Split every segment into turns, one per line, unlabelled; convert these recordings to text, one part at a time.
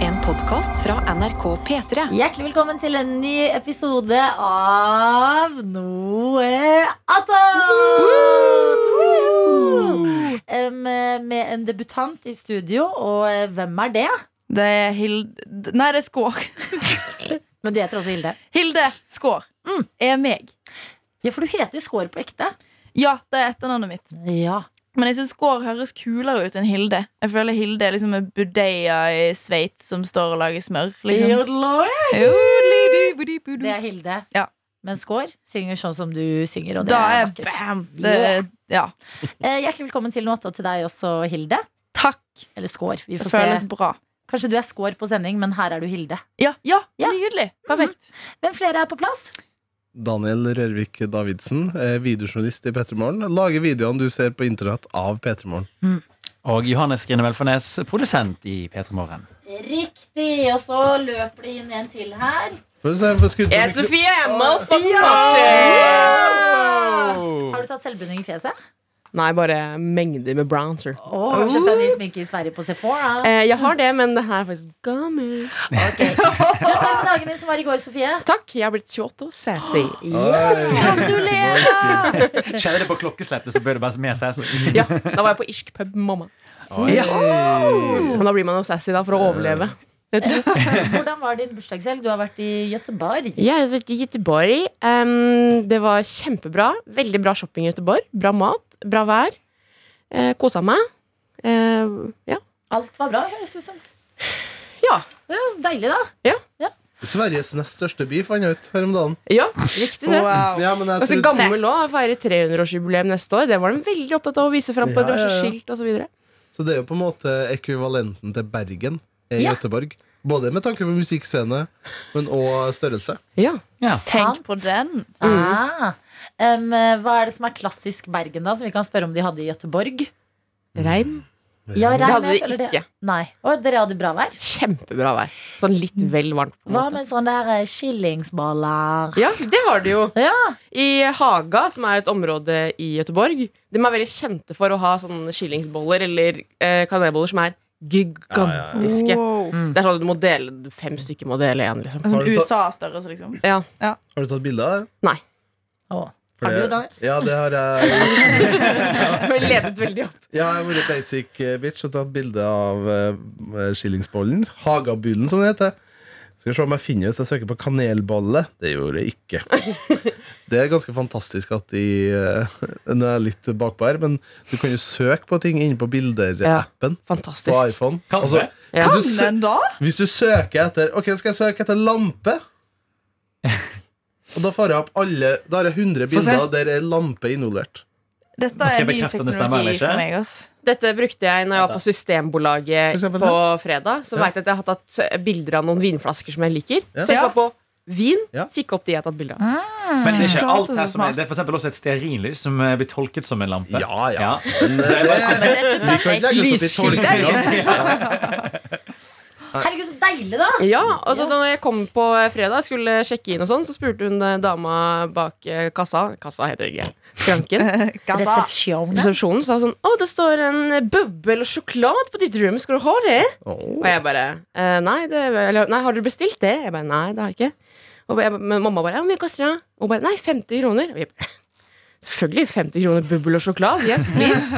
En podkast fra NRK P3.
Hjertelig velkommen til en ny episode av Noe attåt! Um, med en debutant i studio, og eh, hvem er det?
Det er Hilde Nei, det er Skår.
Men du heter også Hilde.
Hilde Skår
Mm.
er meg.
Ja, for du heter Skår på ekte.
Ja, det er etternavnet mitt.
Ja.
Men jeg syns Skår høres kulere ut enn Hilde. Jeg føler Hilde er liksom en budeia i Sveits som står og lager smør. Liksom.
Det
Det
er Hilde.
Ja.
Men Skår synger sånn som du synger, og det
Da
er
er
vakkert.
bam! Det, ja.
Eh, Hjertelig velkommen til Noe attåt til deg også, Hilde.
Takk.
Eller Skår. Vi
Det
får
føles
se.
bra.
Kanskje du er Skår på sending, men her er du Hilde.
Ja, ja,
Ja. Mm-hmm.
nydelig. Perfekt.
Hvem flere er på plass?
Daniel Rørvik Davidsen, eh, videojournalist i P3 Morgen. Lager videoene du ser på internett av P3 Morgen.
Og Johannes Grine Velfornes, produsent i P3 Morgen.
Riktig. Og så løper det inn en til her.
Får vi se, får skudd på
Jeg
mikro-
heter Sofie Motherfucker!
Har du tatt selvbunding i fjeset?
Nei, bare mengder med bronzer.
Å, har du kjøpt deg ny sminke i Sverige på Sephora?
Eh, jeg har det, men det her er faktisk gammel.
Gratulerer med dagen din som var i går, Sofie.
Takk, jeg har blitt 28 og sassy.
Gratulerer!
Skjedde det på klokkeslettet, så ble det bare mer sassy.
Ja, Da var jeg på irsk pub med mamma. Men da blir man jo sassy da for å overleve. Jeg tror-
Hvordan var din bursdagshelg? Du har vært i Gøteborg.
Jeg er fra Göteborg. Em, det var kjempebra. Veldig bra shopping i Göteborg. Bra mat, bra vær. Eh, Kosa meg. Eh, ja.
Alt var bra, høres det ut som.
ja.
Det var så deilig, da.
Sveriges nest største by, fant jeg ut her om dagen.
Ja, riktig det.
Wow.
Ja, men
Og så
jeg trodde,
gammel òg. Feirer 300-årsjubileum neste år. Det var de veldig opptatt av å vise fram på
Ja, ja, ja.
drosjeskilt osv.
så det er jo på en måte ekvivalenten til Bergen i
Ja.
Göteborg. Både med tanke på musikkscene, men òg størrelse.
Ja.
Ja.
Tenk på den.
Ah. Em, hva er det som er klassisk Bergen, da? Som vi kan spørre om de hadde i Gøteborg?
Regn.
Ja, regn,
Det hadde
jeg
de
føler
ikke.
Nei. Og dere hadde bra vær?
Kjempebra vær. Sånn litt vel varmt. på en
Hva
måte.
med sånne der eh, skillingsboller?
Ja, det har de jo.
Ja.
I Haga, som er et område i Gøteborg, de er veldig kjente for å ha sånne skillingsboller eller eh, kanelboller som er gigantiske.
Wow.
Det er sånn at du må dele fem stykker må dele én, liksom.
Sånn
Har du tatt-
USA-størrelse, liksom.
Ja.
Har du tatt bilde av det?
Å.
For
Har du,
det-
Daniel?
Ja, det har jeg.
Vi ledet veldig opp.
Ja, jeg har vært basic eh, bitch og tatt bilde av eh, skillingsbollen. Hagabulen, som det heter. Skal vi se om jeg finner hvis jeg søker på kanelbolle. Det gjorde jeg ikke. Det er ganske fantastisk at de eh, Nå er jeg litt bakpå her, men du kan jo søke på ting inne på bilder-appen på
Fantastisk.
iPhone. Altså,
Kan du
Altså,
hvis, du
det?
Ja.
sø
Men da?
hvis du søker etter Ok, skal jeg søke etter lampe? Og da får jeg opp alle Da har jeg 100
Få se.
bilder der er lampe involvert.
Dette
Nå
er
skal jeg
ny
bekrefte om det stemmer
teknologi
eller ikke.
for meg. ass
Dette brukte jeg når jeg var på
For
Systembolaget
eksempel
på fredag. Så
Ja.
vet jeg at jeg har tatt bilder av noen vinflasker som jeg liker.
Ja.
Så jeg var på vin,
Ja.
fikk opp de jeg har tatt bilde av.
Men det er ikke
Flate
alt her
så
som
altså,
er
smart.
Det er for eksempel også et stearinlys som eh, blir tolket som en lampe.
Ja, ja.
Så
Men,
jeg bare skal-
Men eh, det er ikke
Vi kan ikke
perfekt.
legge oss opp i
Lysskilde er
tolkninga.
Herregud, så deilig, da!
Ja, og så da jeg kom på fredag skulle sjekke inn og sånn, så spurte hun eh, dama bak eh, kassa Kassa heter det ikke. Skranken.
Altså,
Kassa.
Resepsjon.
Resepsjonen sa sånn Å, det står en bubble og sjokolade på ditt rom, skal du ha det? Og jeg bare «Eh, nei, det, eller, nei, har du bestilt det? Jeg bare nei, det har jeg ikke. Og jeg, men mamma bare ja, hvor mye koster det? Og bare nei, 50 kroner. Og jeg bare, Selvfølgelig 50 kroner bubbel og sjokolade. Yes, please.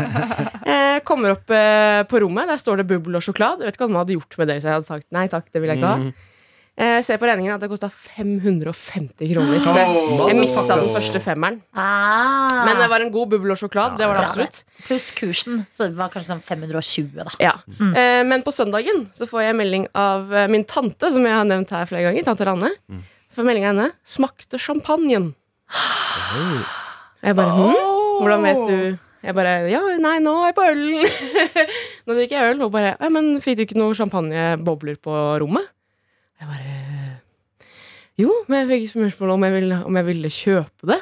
Eh, kommer opp eh, på rommet, der står det bubbel og sjokolade. Jeg vet ikke hva de hadde gjort med det hvis jeg hadde sagt nei takk, det vil jeg ikke ha. Eh, ser på regningen at det kosta 550 kroner. Så jeg, jeg mista den første femmeren.
Ah.
Men det var en god bubbel og sjokolade. Det var det
bra.
absolutt.
Pluss kursen, så det var kanskje sånn 520, da.
Ja. Eh, men på søndagen så får jeg melding av eh, min tante, som jeg har nevnt her flere ganger. Tante Ranne. Får melding av henne. 'Smakte champagnen'. Jeg bare hm? Hvordan vet du Jeg bare Ja, nei, nå er jeg på ølen. nå drikker jeg øl. Og bare Ja, men fikk du ikke noe champagnebobler på rommet? Jeg bare Jo, men jeg fikk spørsmål om jeg ville, om jeg ville kjøpe det.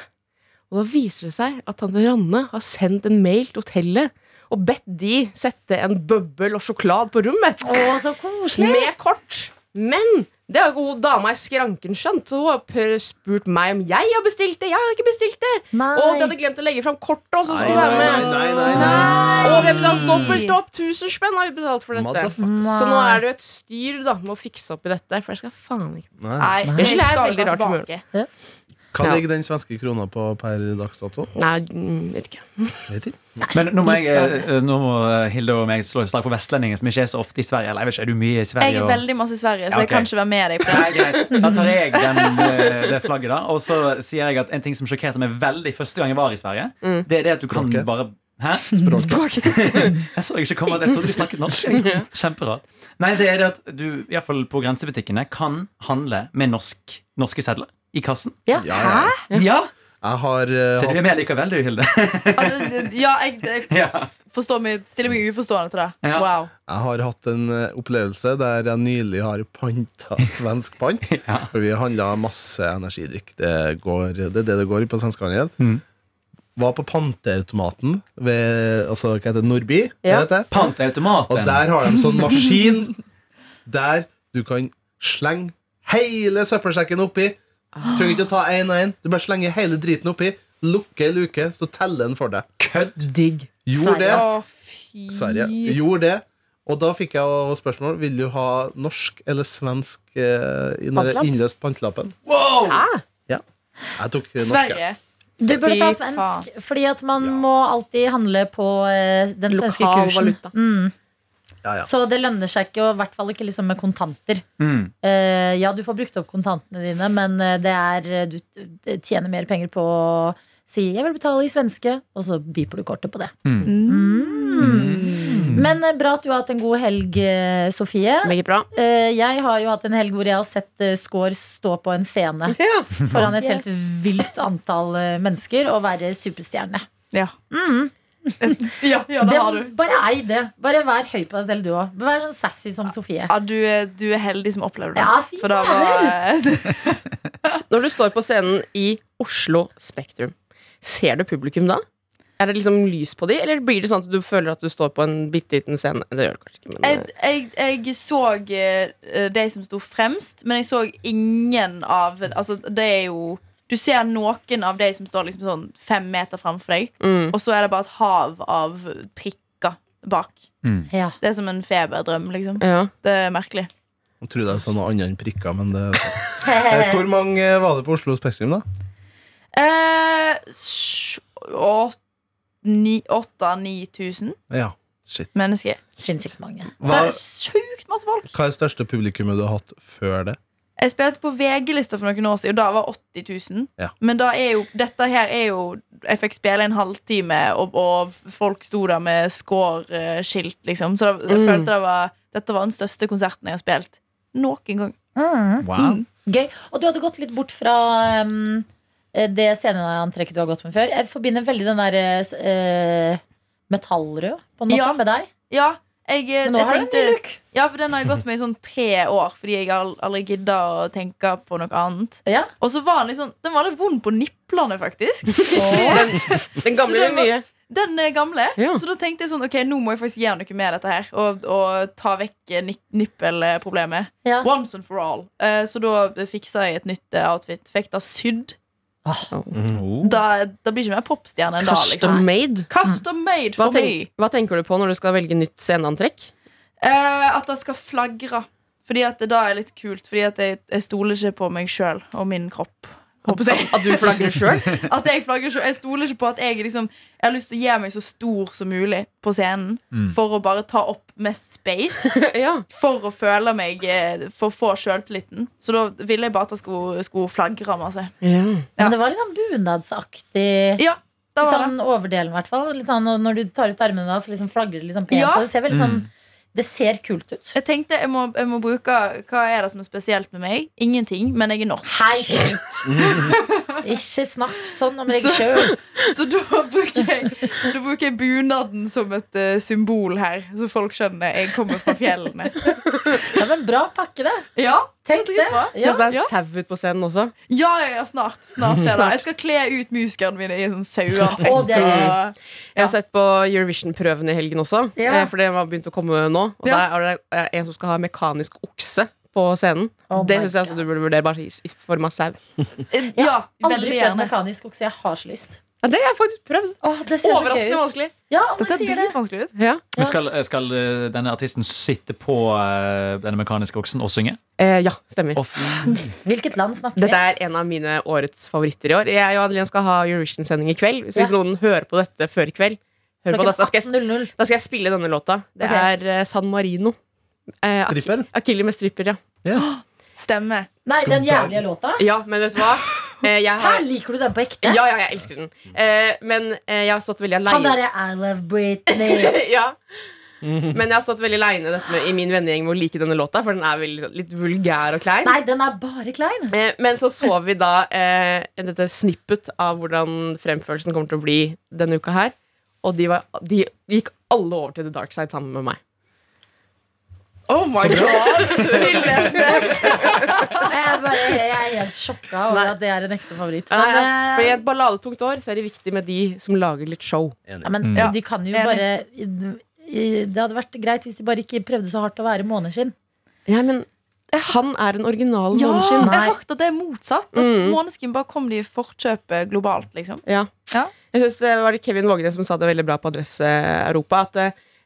Og da viser det seg at tante Ranne har sendt en mail til hotellet og bedt de sette en bøbbel og sjokolade på rommet.
Å, så koselig!
Med kort. Men Det har jo hun dama i skranken skjønt, så hun har pr- spurt meg om jeg har bestilt det. Jeg har ikke bestilt det.
Nei.
Og de hadde glemt å legge fram kortet, og så
Nei,
skulle hun være
nei,
med.
nei, nei, nei.
Og vi har betalt dobbelt opp. 1000 spenn har vi betalt for dette.
Motherfuckers.
Så nå er det jo et styr da med å fikse opp i dette, for jeg skal faen ikke
Nei.
Nei,
Det
jeg
skylder jeg
skal
veldig
ikke
rart humør.
tilbake.
Hva
Ja.
ligger den svenske krona på per dags dato?
Nei, mm, vet ikke.
Vet ikke.
Men nå må, jeg, eh, nå må Hilde og meg slå et slag på vestlendingen, som ikke er så ofte i Sverige. Eller jeg vet ikke, er du mye i Sverige?
Jeg er
og-
veldig masse i Sverige, så
Ja,
jeg kan
ok.
ikke være med deg. på det.
Nei, greit. Da tar jeg den, eh, det flagget, da. Og så sier jeg at en ting som sjokkerte meg veldig første gang jeg var i Sverige,
Mm.
det er det at du kan
Språket.
bare Hæ?
Språket.
Jeg så ikke komme, jeg trodde du snakket norsk. jeg. Kjemperart. Nei, det er det at du, iallfall på grensebutikkene, kan handle med norsk, norske sedler i kassen.
Ja.
Ja, ja.
Ja!
Jeg har eh,
Så du er med likevel, du, Hilde.
Altså, det- Ja, jeg, jeg
Ja.
forstår meg, stiller meg uforstående til det.
Ja.
Wow.
Jeg har hatt en eh, opplevelse der jeg nylig har panta svensk pant.
Ja.
For vi handla masse energidrikk. Det, går, det er det det går i på svenskehandel.
Mm.
Var på panteautomaten ved altså, hva heter det, Nordby.
Ja.
Det heter.
Pant er
Og
automaten.
der har de sånn maskin der du kan slenge hele søppelsekken oppi. Du trenger ikke å ta én og én. Du bare slenger hele driten oppi. Lukker ei luke, så teller den for deg.
Kødd!
Digg.
Gjorde det.
Å, fy.
Sverige. Gjorde det. Og da fikk jeg også spørsmål Vil du ha norsk eller svensk eh, inn-
Pantelapp?
innløst pantelappen.
Wow!
Jeg tok eh, norsk. jeg.
Sverige.
Du burde
Fy
ta
faen.
svensk, fordi at man må alltid handle på eh, den svenske
Lokal
kursen.
valuta.
Mm.
Ja, ja.
Så det lønner seg ikke, og i hvert fall ikke liksom med kontanter.
Mm.
Eh, ja, du får brukt opp kontantene dine, men eh, det er, eh, du t- tjener mer penger på å si 'jeg vil betale i svenske', og så biper du kortet på det. Mm. Men eh, bra at du har hatt en god helg, eh, Sofie.
Meget bra.
Eh, jeg har jo hatt en helg hvor jeg har sett eh, Skår stå på en scene
Ja.
foran et helt
Yes.
vilt antall eh, mennesker og være superstjerne.
Ja. Mm. ja, ja, det
Det,
har du.
bare ei det. Bare vær høy på deg selv, du òg. Vær sånn sassy som Sofie.
Ja, du, er, du er heldig som opplevde det.
Ja, fy
For da var
Når du står på scenen i Oslo Spektrum, ser du publikum da? Er det liksom lys på de, eller blir det sånn at du føler at du står på en bitte liten scene? Det gjør du kanskje ikke, men
jeg, jeg, jeg så eh, de som sto fremst, men jeg så ingen av Altså, det er jo Du ser noen av de som står liksom sånn fem meter framfor deg,
Mm.
og så er det bare et hav av prikker bak.
Ja.
Det er som en feberdrøm, liksom.
eh, ja.
Det er merkelig.
Jeg trodde jeg så sånn noe annet enn prikker, men det Eh, Hvor mange eh, var det på Oslo Spektrum, da?
Eh, sj- åt- ni- Åtte, ni tusen
Ja. Shit.
mennesker.
Sinnssykt mange.
Det
Hva,
er sjukt masse folk!
hva er det største publikummet du har hatt før det?
Jeg spilte på VG-lista for noen år siden, og da var 80 000.
Ja.
Men da er jo, dette her er jo Jeg fikk spille en halvtime, og, og folk sto der med score-skilt, liksom. Så da, jeg
Mm.
følte det var, dette var den største konserten jeg har spilt noen gang.
Wow.
Gøy. Og du hadde gått litt bort fra um, det sceneantrekket du har gått med før. Jeg forbinder veldig den der eh, s- eh, metallrød på en måte
Ja.
med deg.
Ja, jeg, eh,
Men nå
jeg
har du en
tenkte
ny look.
Ja, for den har jeg gått med i sånn tre år, fordi jeg al- aldri gidda å tenke på noe annet.
Ja.
Og så var den litt sånn Den var litt vond på niplene, faktisk.
Den gamle
Så det
eller nye?
Den eh, gamle.
Ja.
Så da tenkte jeg sånn Ok, nå må jeg faktisk gjøre noe med dette her. Og, og ta vekk eh, ni- nippelproblemet.
Ja.
Once and for all. Eh, så da fiksa jeg et nytt eh, outfit. Fikk det sydd.
Mm.
Mm. Oh.
Da, da blir ikke mer popstjerne enn da, liksom.
Custom made?
Custom made
Hva,
for
tenk,
meg.
hva tenker du på når du skal velge nytt sceneantrekk?
Eh, at det skal flagre. Fordi at det da er litt kult. Fordi at jeg, jeg stoler ikke på meg sjøl og min kropp. holdt på å si.
At du flagrer sjøl?
At jeg flagrer sjøl. Jeg stoler ikke på at jeg liksom Jeg har lyst til å gjøre meg så stor som mulig på scenen for å bare ta opp mest space.
ja.
For å føle meg eh, For å få sjøltilliten. Så da ville jeg bare at jeg skulle, skulle flagre masse.
ja.
Ja.
Men det var litt sånn bunadsaktig.
Ja, da
Litt
var det.
sånn overdelen, i hvert fall. Litt sånn, og når du tar ut armene, da, så liksom flagrer det litt sånn pent.
Ja. Mm.
og Det ser veldig sånn Det ser kult ut.
Jeg tenkte jeg må, jeg må bruke Hva er det som er spesielt med meg? Ingenting, men jeg er norsk.
Hei! Ikke snakk sånn om deg
Så-
sjøl.
Så da bruker jeg, da bruker jeg bunaden som et eh, symbol her, så folk skjønner jeg kommer fra fjellene.
Ja, men bra pakke, det.
Ja,
Tenk det.
dritbra.
Ja.
Det er sau ut på scenen også.
Ja, ja, ja, snart. snart skjer det.
Snart.
Jeg skal kle ut musikerne mine i sånn saueantrekk.
Å, det er gøy.
og-
Jeg har sett på Eurovision-prøven i helgen også,
Ja.
eh, for det har begynt å komme nå. Og
Ja.
der er det er det en som skal ha mekanisk okse på scenen.
Oh
det
my
syns jeg altså
God.
du burde vurdere bare i, i form av sau.
Eh, Ja,
Aldri
veldig
prøvd
gjerne.
mekanisk okse. Jeg har så lyst.
Ja, det har jeg faktisk prøvd.
Åh, det ser så gøy
Overraskende
ut.
vanskelig.
Ja, alle
Det ser
sier det.
dritvanskelig ut. Ja.
Men skal, skal eh, denne artisten sitte på eh, denne mekaniske oksen og synge?
Eh, ja, stemmer.
Og f-
Hvilket land snakker
Dette
vi?
er en av mine årets favoritter i år. Jeg og Adeline skal ha Eurovision-sending i kveld. Så hvis
Ja.
noen hører på dette før i kveld, hør på det, så skal jeg,
18.00.
da skal jeg spille denne låta. Det
Ok.
er eh, San Marino. Eh, Ak-
Stripper?
Akili med stripper, ja.
Stemmer.
Nei,
Skal
den
vi ta-
jævlige låta.
Ja, men vet du hva? Eh, jeg
Her
har,
liker du den på ekte.
ja, ja, jeg elsker den. Eh, men eh, jeg har stått veldig
Han derre
aleine.
I love Britney.
ja. Men jeg har stått veldig aleine dette med- i min vennegjeng med å like denne låta, for den er veldig, sånn litt vulgær og klein.
Nei, den er bare klein.
Eh, Men så så vi da eh, dette snippet av hvordan fremførelsen kommer til å bli denne uka her. Og de, var, de gikk alle over til The Dark Side sammen med meg.
Oh my god! Stille.
Jeg er, bare, jeg er helt sjokka over
Nei.
at det er en ekte favoritt.
Nei,
Men,
ja.
eh,
For i et balladetungt år så er det viktig med de som lager litt show.
ja,
Enig.
men
Ja,
de kan jo
enig.
bare i- Det hadde vært greit hvis de bare ikke prøvde så hardt å være måneskinn.
Ja, men Eh, han er den originale
Ja, jeg
måneskinn.
har hørt at det er motsatt. At
Mm.
Måneskin bare kom de i forkjøpet globalt, liksom.
Ja.
Ja.
Jeg synes det var det Kevin Vågnes som sa det veldig bra på Adresse Europa. At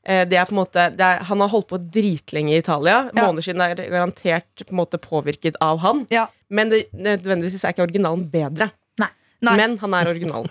eh, det er på en måte det er, Han har holdt på dritlenge i Italia.
Ja.
Måneskinn er garantert på en måte påvirket av han.
Ja.
Men det, nødvendigvis er ikke originalen bedre.
Nei,
Men han er originalen.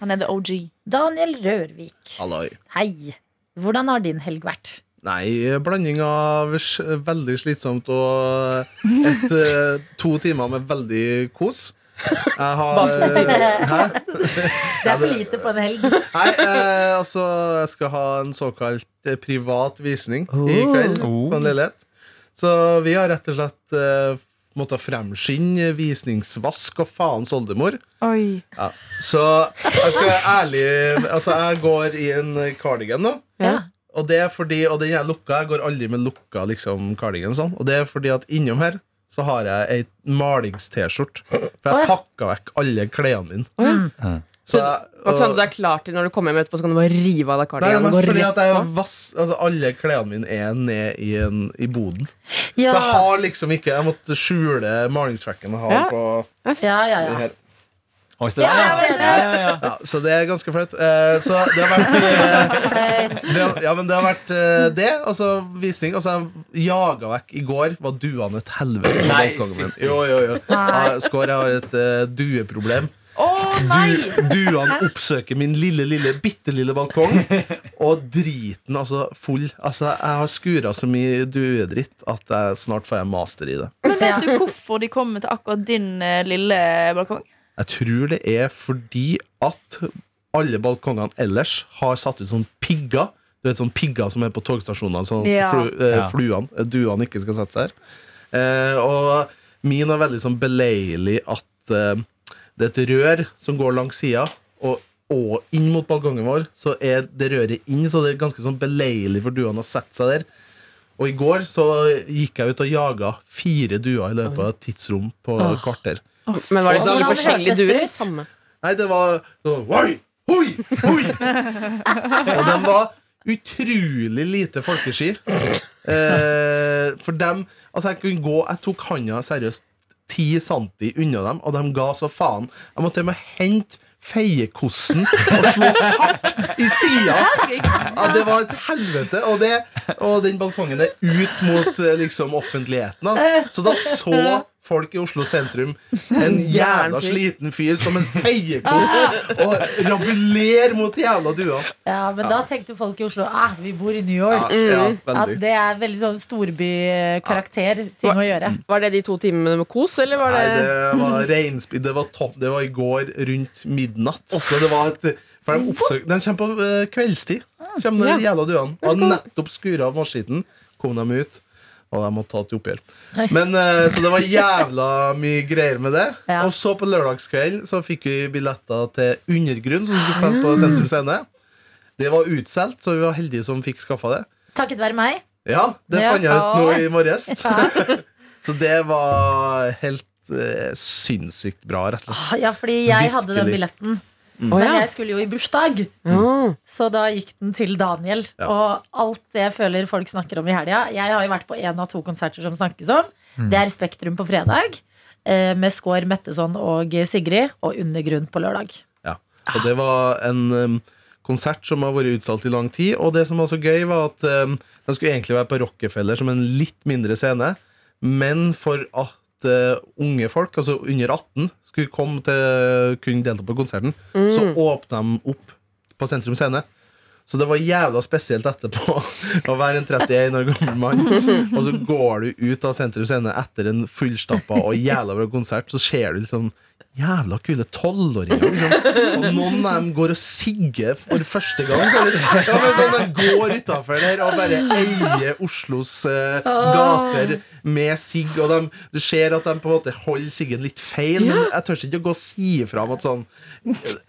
han er the OG.
Daniel Rørvik,
Halloi.
hei. Hvordan har din helg vært?
Nei, blanding av s- veldig slitsomt og et, eh, to timer med veldig kos. Jeg har eh, Hæ?
Det er for lite på en helg.
Nei, eh, altså Jeg skal ha en såkalt eh, privat visning i kveld
Oh.
på en leilighet. Så vi har rett og slett eh, måttet fremskynde visningsvask og faens oldemor.
Oi.
Så jeg skal være ærlig Altså, jeg går i en cardigan nå.
Ja.
Og det er fordi, og den er lukka, jeg går aldri med lukka liksom, cardigan og sånn. Og det er fordi at innom her så har jeg ei malings-T-skjorte. For
Å, ja.
jeg pakka vekk alle klærne mine.
Å, ja.
Så
Og
jeg,
sånn at du er klar til når du kommer hjem etterpå, så kan du bare rive av deg
Nei, det er mest
kardiganen. og gå
fordi
rett
at jeg
på.
vass, altså, alle klærne mine er ned i, en, i boden. Så jeg
Ja,
har liksom ikke Jeg måtte skjule malingsflekken jeg har
Ja.
på
ja, ja.
det
ja.
her.
Oi, så det er-
Ja, jeg ser det.
ja, ja, ja.
Ja, så det er ganske flaut. Eh, så det har vært eh,
Flaut.
det, har- Ja, men det har vært eh, det. Altså visning. Altså, jeg jaga vekk i går. Var duene et helvete på
Nei,
balkongen min?
fy.
Jo, jo, jo. Ja, Skår, jeg har et eh, dueproblem.
Å nei!
Du, duene oppsøker min lille, lille, bitte lille balkong. Og driten, altså, full. Altså, jeg har skura så mye duedritt at jeg snart får jeg master i det.
Men
Ja.
vet du hvorfor de kommer til akkurat din eh, lille balkong?
Jeg tror det er fordi at alle balkongene ellers har satt ut sånn pigger. Du vet sånn pigger som er på togstasjonene, sånn at
Ja.
flu, eh,
Ja.
fluene, eh, duene ikke skal sette seg her. Eh, og min er veldig sånn beleilig at eh, det er et rør som går langs sida, og, og inn mot balkongen vår, så er det røret inn, så det er ganske sånn beleilig for duene å sette seg der. Og i går så gikk jeg ut og jaga fire duer i løpet av et tidsrom på et kvarter.
Men var det
Og
sånn
han
forskjellige
hørtes
duer?
ut.
Samme.
Nei, det var sånn, Oi, hoi, hoi Og de var utrolig lite folkesky eh, For dem Altså jeg kunne gå Jeg tok handa seriøst 10 santi unna dem Og de ga så faen Jeg måtte med hente feiekossen Og slå hardt i siden ja, Det var et helvete Og, det, og den balkongen er ut mot eh, liksom, offentligheten da. Så da så folk i Oslo sentrum En jævla
Jævlig.
sliten fyr Som en feiekost Og rabuler mot jævla dua
Ja, men da tenkte folk i Oslo ah, vi bor i New York.
ja, ja,
Mm.
At
veldig
det er veldig sånn storbykarakter-ting å gjøre.
Var det de to timene med kos, eller var det,
Nei, det var reinspill. Det var topp. Det var i går rundt midnatt. Så det var et for de, oppsøk, de kommer på eh, kveldstid.
Ah,
Kommer de jævla duene. Har nettopp skura av maskinen. Kom dem ut. Og de måtte ta et oppgjør. Men, eh, så det var jævla mye greier med det.
Ja.
Og så på lørdagskvelden så fikk vi billetter til Undergrunn, som skulle spille
Ah.
på Sentrum Scene. Det var utsolgt, så vi var heldige som fikk skaffa det.
Takket være meg.
Ja, det
Ja.
fant jeg ut nå i morges.
Ja.
Så det var helt eh, sinnssykt bra, rett og slett.
Ah, Ja, fordi jeg hadde den
Virkelig.
billetten.
Å,
Men
ja.
jeg skulle jo i bursdag,
Ja.
så da gikk den til Daniel.
Ja.
Og alt det jeg føler folk snakker om i helga Jeg har jo vært på én av to konserter som snakkes om. Det er Spektrum på fredag, eh, med Skår Metteson og Sigrid, og Undergrunn på lørdag.
Ja. Og det var en em, konsert som har vært utsolgt i lang tid. Og det som var så gøy, var at um, den skulle egentlig være på Rockefeller, som en litt mindre scene. Men for at eh, unge folk, altså under 18, skulle komme til kunne delta på konserten, så åpna de opp på Sentrum Scene. Så det var jævla spesielt etterpå å være en 31 år gammel mann, og så går du ut av Sentrum Scene etter en fullstappa og jævla bra konsert, så ser du liksom jævla kule tolvåringer. Liksom. Og noen av dem går og sigger for første gang. Så er det, ja, men sånn, de går utafor der og bare eier Oslos eh,
Ah.
gater med sigg. Og de, du ser at de på en måte holder siggen litt feil, men jeg tør ikke å gå og si ifra om at sånn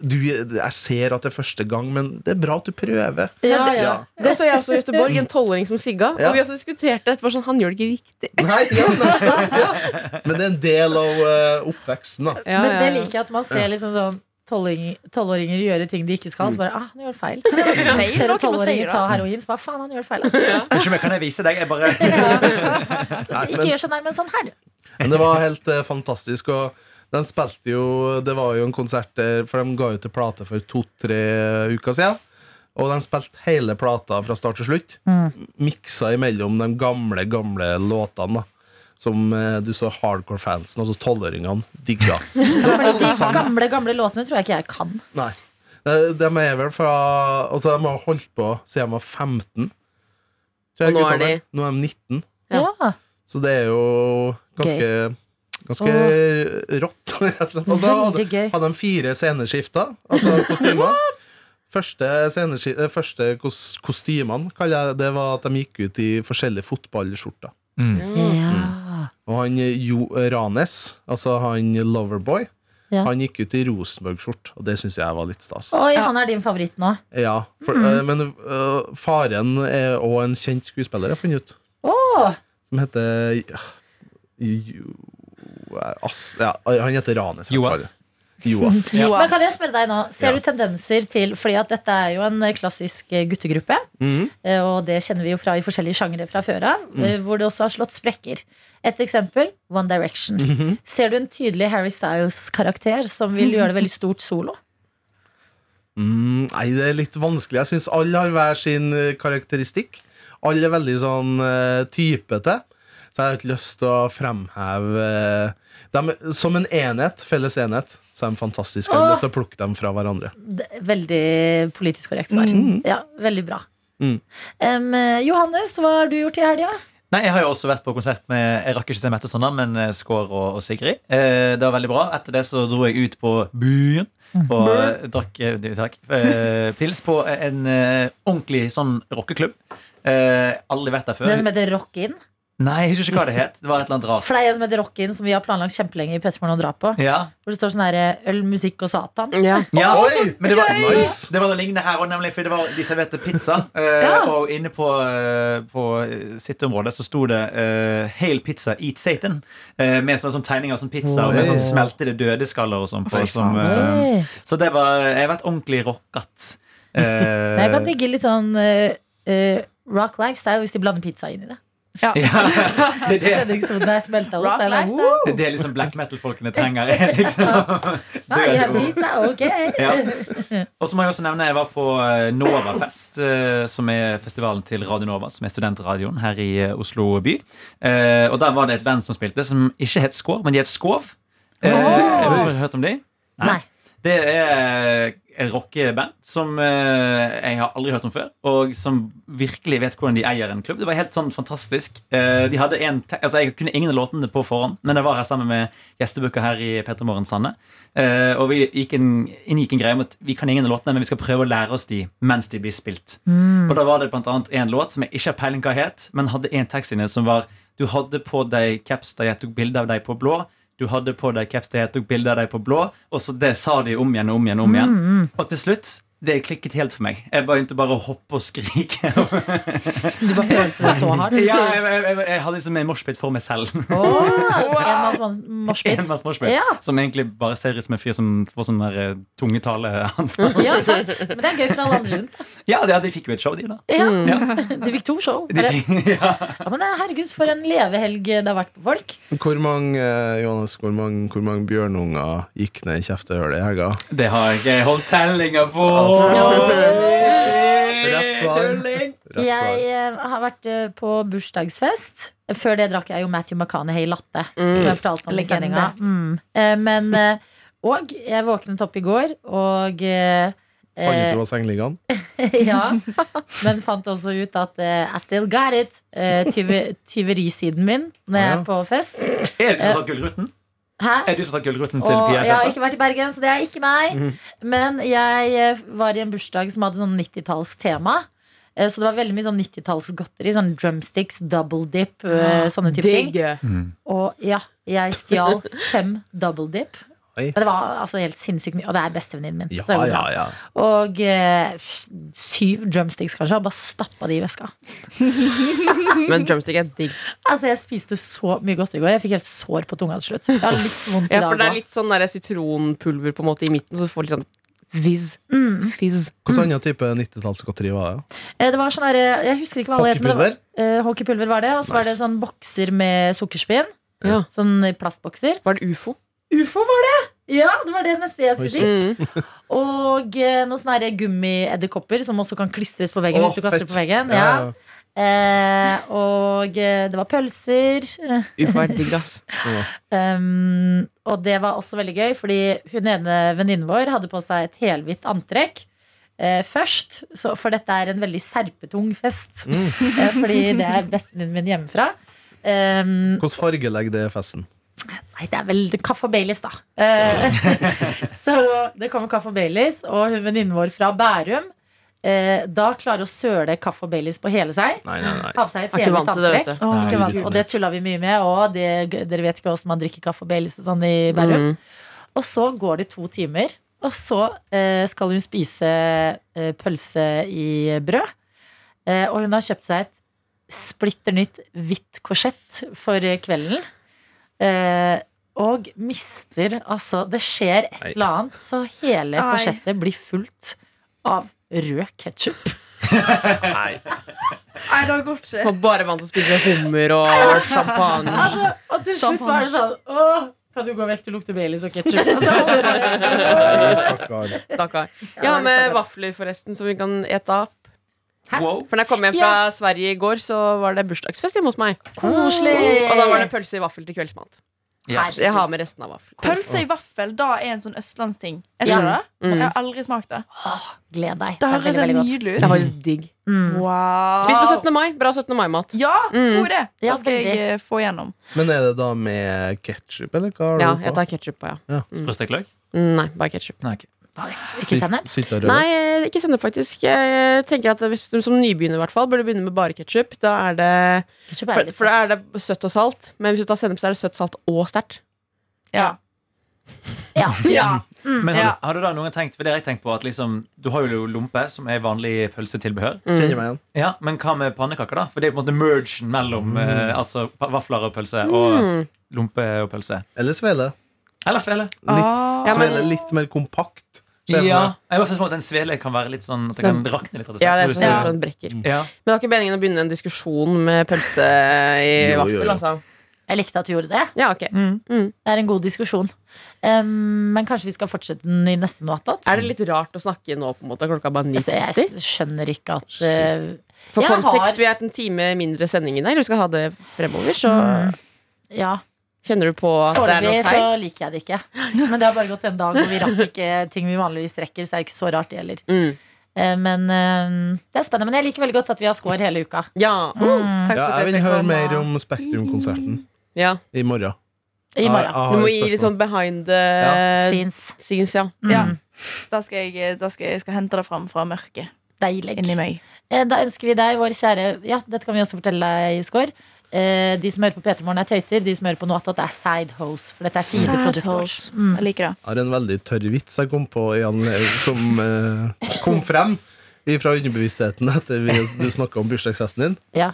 du, Jeg ser at det er første gang, men det er bra at du prøver.
Ja, ja.
Da så jeg også i Göteborg en tolvåring som sigga.
Ja.
Og vi også diskuterte det etterpå sånn, han gjør det ikke riktig.
Nei, ja, nei, ja. Men det er en del av eh, oppveksten, da.
Ja,
Men
ja,
det
ja.
liker jeg at man ser liksom sånn tolvåring- Tolvåringer gjøre ting de ikke
Mm.
skal. Så bare, ah, han gjør feil Ser
noe
at
må si,
tolvåringer
da.
ta heroin, så bare faen, han gjør feil. Altså.
Unnskyld meg, kan jeg vise deg? Jeg bare
Nei,
Ikke
men-
gjør sånn, nei, men sånn her.
Men det var helt eh, fantastisk. Og den spilte jo Det var jo en konsert der, for de ga ut en plate for to-tre uker siden. Og de spilte hele plata fra start til slutt.
Mm.
Miksa imellom de gamle, gamle låtene. da Som eh, du så hardcore-fansen, altså tolvåringene, digga.
Fordi de gamle, gamle låtene tror jeg ikke jeg kan.
Nei. De, de er vel fra Altså, de har holdt på siden de var 15. tror jeg,
Og nå er
guttene.
de-
nå er de 19.
Ja.
Så det er jo ganske Ganske rått, rett og slett. Og så hadde,
Veldig gøy.
hadde de fire sceneskifter, altså kostymer. Første, sceneski- eh, første kos kostymene, kaller jeg det, var at de gikk ut i forskjellige fotballskjorter.
Mm.
Ja.
Og han eh, Jo Ranes, altså han Loverboy,
Ja.
han gikk ut i Rosenborg-skjort, og det syns jeg var litt stas.
Oi, han er din favoritt nå.
Ja, for,
Mm.
eh, men eh, faren er også en kjent skuespiller, jeg har funnet ut.
Åh,
Som heter ja, Jo... Ass, ja, han heter Ranes.
Joas.
Joas.
Jo,
men kan jeg
ass.
spørre deg nå Ser
Ja.
du tendenser til Fordi at dette er jo en eh, klassisk eh, guttegruppe
Mhm.
eh, Og det kjenner vi jo fra i forskjellige sjangere fra før av eh, Hvor det også har slått sprekker Et eksempel, One Direction
Mhm.
Ser du en tydelig Harry Styles-karakter Som vil gjøre det veldig stort solo?
Mm, nei, det er litt vanskelig. Jeg syns alle har hver sin eh, karakteristikk. Alle er veldig sånn eh, typete. Så jeg har ikke lyst til å fremheve eh, dem som en enhet, felles enhet. Så er de fantastiske. Jeg har
Åh.
lyst til å plukke dem fra hverandre.
Det er Veldig politisk korrekt svar Ja, veldig bra
Mhm. Mm.
Em, eh, Johannes, hva har du gjort i helga?
Nei, Jeg har jo også vært på konsert med Jeg rakk ikke se Mette Sander, men eh, Skår og, og Sigrid. Eh, det var veldig bra. Etter det så dro jeg ut på byen
Mm.
og eh, drakk eh, du, takk, eh, pils på en eh, ordentlig sånn rockeklubb. Eh, aldri vært der før.
Det som heter Rockin
Nei, jeg husker ikke hva det het. Det var et eller annet rart.
For det er en som heter Rockin som vi har planlagt kjempelenge i Petermorgen å dra på
Ja,
Hvor det står sånn her eh, Øl, musikk og satan
Ja.
ja.
Oi!
Men det var,
Nice!
det var noe lignende her òg, nemlig. For det var de serverte pizza. eh,
Ja.
Og inne på, eh, på eh, sitteområdet så sto det eh, 'Hail pizza, eat Satan'. eh, med sånne, sånne tegninger som pizza og med
Oi.
sånn smeltede dødeskaller og sånn på. Som, eh,
Oi.
så det var Jeg har vært ordentlig rockat. Eh,
Men jeg kan digge litt sånn eh, eh, rock lifestyle hvis de blander pizza inn i det.
ja, det, er det,
Skjønner ikke som det er smelta ost.
Rock
er sånn,
lifestyle.
det er det liksom black metal-folkene trenger. er Liksom.
«Woo, I have
Døde ord.
pizza, ok
Ja. Og så må jeg også nevne jeg var på eh, Novafest, eh, som er festivalen til Radio Nova, som er studentradioen her i eh, Oslo by. Eh, Og der var det et band som spilte, som ikke het Skår, men de het Skov. Eh, Jeg vet ikke om dere har hørt om de?
Nei.
Det er et rockeband som eh, jeg har aldri hørt om før, og som virkelig vet hvordan de eier en klubb. Det var helt sånn fantastisk. Eh, de hadde en te altså, jeg kunne ingen av låtene på forhånd, men jeg var her sammen med gjestebooker her i Petter Morgen Sanne. Eh, og vi gikk en, inngikk en greie om at vi kan ingen av låtene, men vi skal prøve å lære oss de mens de blir spilt. Og da var det blant annet en låt som jeg ikke har peiling hva het, men hadde en tekst inne som var Du hadde på deg caps da jeg tok bilde av deg på blå. Du
Mm,
hadde på deg caps da jeg tok bilde av deg på blå. Og så det sa de om igjen og om igjen og om igjen. Og til slutt det klikket helt for meg. Jeg begynte bare å hoppe og skrike. ja,
Du bare følte det så hardt.
jeg, jeg, jeg, jeg hadde liksom en moshpit for meg selv.
sånn Enmannsmorsbit.
Enmanns moshpit.
Ja,
Som egentlig bare ser ut som en fyr som får sånn der eh, tungetale.
ja, sant. Men det er gøy for alle andre rundt.
ja, de, de fikk jo et show, de, da.
Ja. De fikk to show.
De
Bare-
fikk, ja.
Ja, men eh, herregud, for en levehelg det har vært på folk.
Hvor mange, eh, Johannes, hvor mange, hvor mange bjørnunger gikk ned i kjeftehullet i helga?
Det har jeg ikke holdt tellinga på.
Rett svar. Rett
Eh, Jeg
svar.
eh, har vært eh, på bursdagsfest. Før det drakk jeg jo Matthew McConaughey latte.
Mm.
som Jeg fortalte om i
Legende.
sendinga. Mm. Eh, Men eh, Og jeg våknet opp i går, og eh,
Fant ut
eh,
du var sengeliggende?
ja, Men fant også ut at eh, I still got it. eh, tyve- Tyverisiden min når jeg
Ja.
er på fest.
Er det du som har tatt gullruten?
Hæ?
Er det du som har tatt gullruten til
Og
Pia
jeg har
Kjetta?
ikke vært i Bergen, så det er ikke meg.
Mhm.
Men jeg eh, var i en bursdag som hadde sånn 90-tallstema. Eh, Så det var veldig mye sånn 90-tallsgodteri. Sånn drumsticks, double dip,
Ah,
eh, sånne type ting.
Digg.
Og ja, jeg stjal fem double dip.
Oi.
Men det var altså helt sinnssykt mye, og det er bestevenninnen min.
Ja,
så det går
ja,
bra.
ja.
Og eh, syv drumsticks, kanskje. Og bare stappa de i veska.
Men drumstick er digg.
Altså, jeg spiste så mye godteri i går. Jeg fikk helt sår på tunga til slutt. Jeg har litt vondt i
Ja, for
dag
det er
òg.
litt sånn der sitronpulver på en måte i midten, så du får litt sånn fizz. Fizz.
Hvilken annen type 90-tallsgodteri var det?
Mm. Eh, Det var sånn der, Jeg husker ikke hva alle het, men det var
Hockeypulver?
Eh, hockeypulver var det, og så var det
Nice.
sånn bokser med sukkerspinn.
Ja.
Sånn plastbokser.
Var det ufo?
Ufo var det! Ja, det var det neste jeg
Oi,
skulle
shit.
si.
Mm.
Og eh, noen sånne her gummiedderkopper som også kan klistres på veggen.
Åh,
hvis du kaster
fett.
det på veggen ja.
Ja,
Eh, Og eh, det var pølser.
Ufo er digg, ass.
Um, og det var også veldig gøy, fordi hun ene venninnen vår hadde på seg et helhvitt antrekk. eh, først, så, for dette er en veldig serpetung fest.
Mm.
Eh, fordi det er bestevenninnen min hjemmefra. Um,
Hvordan fargelegg det er festen?
Nei, det er vel kaffe og Baileys, da. Eh, så det kommer kaffe og Baileys, og hun venninnen vår fra Bærum eh, da klarer å søle kaffe og Baileys på hele seg.
Nei, nei, nei.
Ha på seg et
Jeg er ikke
hele
vant til det, vet
tantrekk.
du.
Åh,
Nei,
Ikke vant-
gutten
Og
min.
det tulla vi mye med. Og det, dere vet ikke hvordan man drikker kaffe og Baileys og sånn i Bærum.
Mm.
Og så går det to timer, og så eh, skal hun spise eh, pølse i brød. Eh, og hun har kjøpt seg et splitter nytt hvitt korsett for eh, kvelden. Eh, og mister Altså, det skjer et
Nei.
eller annet, så hele
Nei.
korsettet blir fullt av rød ketsjup.
Nei, det går ikke.
Og bare vant til å spise hummer og champagne.
Altså, og til
slutt var det
sånn Åh, kan du gå vekk? Det lukter Baileys og Altså, ketsjup.
Stakkar.
Stakkar. Jeg har med vafler, forresten, som vi kan ete opp.
Wow.
For da jeg kom hjem fra Sverige i går, så var det bursdagsfest hjemme hos meg.
Koselig.
Og da var det pølse i vaffel til kveldsmat.
Ja.
Så jeg har med resten av vaffelen.
Pølse i vaffel da er en sånn østlandsting. Er
Ja.
ikke det?
Mm.
Jeg har aldri smakt det.
Gled deg.
Det høres helt nydelig
Det er
ut.
faktisk digg.
Mm.
Wow.
Spis på 17. mai. Bra 17. mai-mat.
Ja,
Mm.
god idé.
Ja,
Da skal
veldig.
jeg eh, få gjennom.
Men er det da med ketsjup, eller hva har
Ja,
du
jeg
på?
tar ketsjup på, ja.
Sprøstekt løk?
Mm, Nei, bare ketsjup.
Nei, ok.
Ikke sennep?
Sylt og rødløk?
Nei, eh, ikke sennep, faktisk. Jeg tenker at hvis du som nybegynner i hvert fall burde begynne med bare ketsjup. Da er det
Ketsjup er
For,
litt
for da
søtt.
er det søtt og salt. Men hvis du tar sennep, så er det søtt, salt og sterkt.
Ja.
Ja.
Mm.
Men har,
Ja.
har du da noen gang tenkt, for det har jeg tenkt på at liksom, Du har jo lompe, som er vanlig pølsetilbehør.
Kjenner
Mm.
meg igjen.
Ja, Men hva med pannekaker, da? For det er på en måte mergen mellom eh, altså, pa- vafler og pølse. Og
Mm.
lompe og pølse.
Eller svele.
Eller svele.
Litt,
Ah.
Ja, men-
svele litt mer kompakt.
Ja,
ser jeg
jeg
for meg.
har fått for meg at En svele kan være litt sånn at det kan rakne litt. rett og slett.
Ja, det
Når
er
du
sånn
ser-
Ja.
at den brekker.
Ja.
Men det var ikke meningen å begynne en diskusjon med pølse i
Jo, jo, jo.
vaffel, altså.
Jeg likte at du gjorde det.
Ja, ok.
Mm. Det er en god diskusjon. Um, men kanskje vi skal fortsette den i neste noe attåt?
Er det litt rart å snakke nå, på en måte? Klokka er bare
Altså,
9.30?
jeg skjønner ikke at
Shit.
uh,
For
jeg
kontekst,
har-
vi er en time mindre sending i dag. Du skal ha det fremover, så
Ja,
kjenner du på at det er noe
Mm. foreløpig så
feil.
liker jeg det ikke. Men det har bare gått en dag, og vi rakk ikke ting vi vanligvis rekker, så det er ikke så rart det heller.
Mm.
Eh, Men eh, det er spennende. Men jeg liker veldig godt at vi har score hele uka.
Ja.
Mm.
Takk
Ja,
for at
jeg vil
fikk
høre
komme.
mer om Spektrum-konserten
ja.
i morgen.
I morgen. Eh,
Du må gi litt sånn behind the
Syns.
scenes, ja.
Mm.
Ja. Da skal jeg, eh, da skal jeg, jeg skal hente det fram fra mørket
Deilig.
inni meg.
Eh, Da ønsker vi deg, vår kjære Ja, dette kan vi også fortelle deg, Skår. eh, de som hører på P3 Morgen, er tøyter. De som hører på noe annet, er sidehose. For dette er
Sad
side project
hoes.
Wars. Mm.
Jeg liker det.
Jeg har en veldig tørr vits jeg kom på i anle- som eh, kom frem fra underbevisstheten etter vi, du snakka om bursdagsfesten din.
Ja.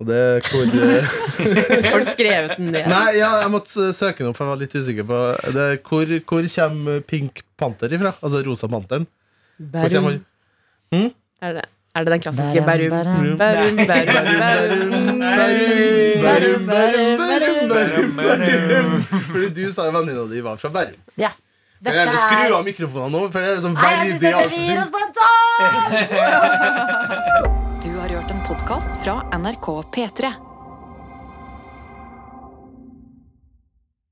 Og det er hvor eh,
Har du skrevet den ned?
Nei, ja, jeg måtte søke den opp, for jeg var litt usikker på det. er Hvor, hvor kommer Pink Panther ifra? Altså Rosa Panteren. Hvor kommer
Bærum.
han?
Er det, er det den klassiske Bærum?
Bærum,
Bærum, Bærum, Bærum, Bærum.
Bærum, Bærum, Bærum, Bærum, Bærum.
Bærum.
Fordi du sa jo venninna di var fra Bærum.
Ja.
Jeg vil
Dette
gjerne
er
skru av mikrofonene nå, for det er sånn
Nei, jeg syns
veldig
dette vi gir
avslutning.
oss på en topp!
Du har hørt en podkast fra NRK P3.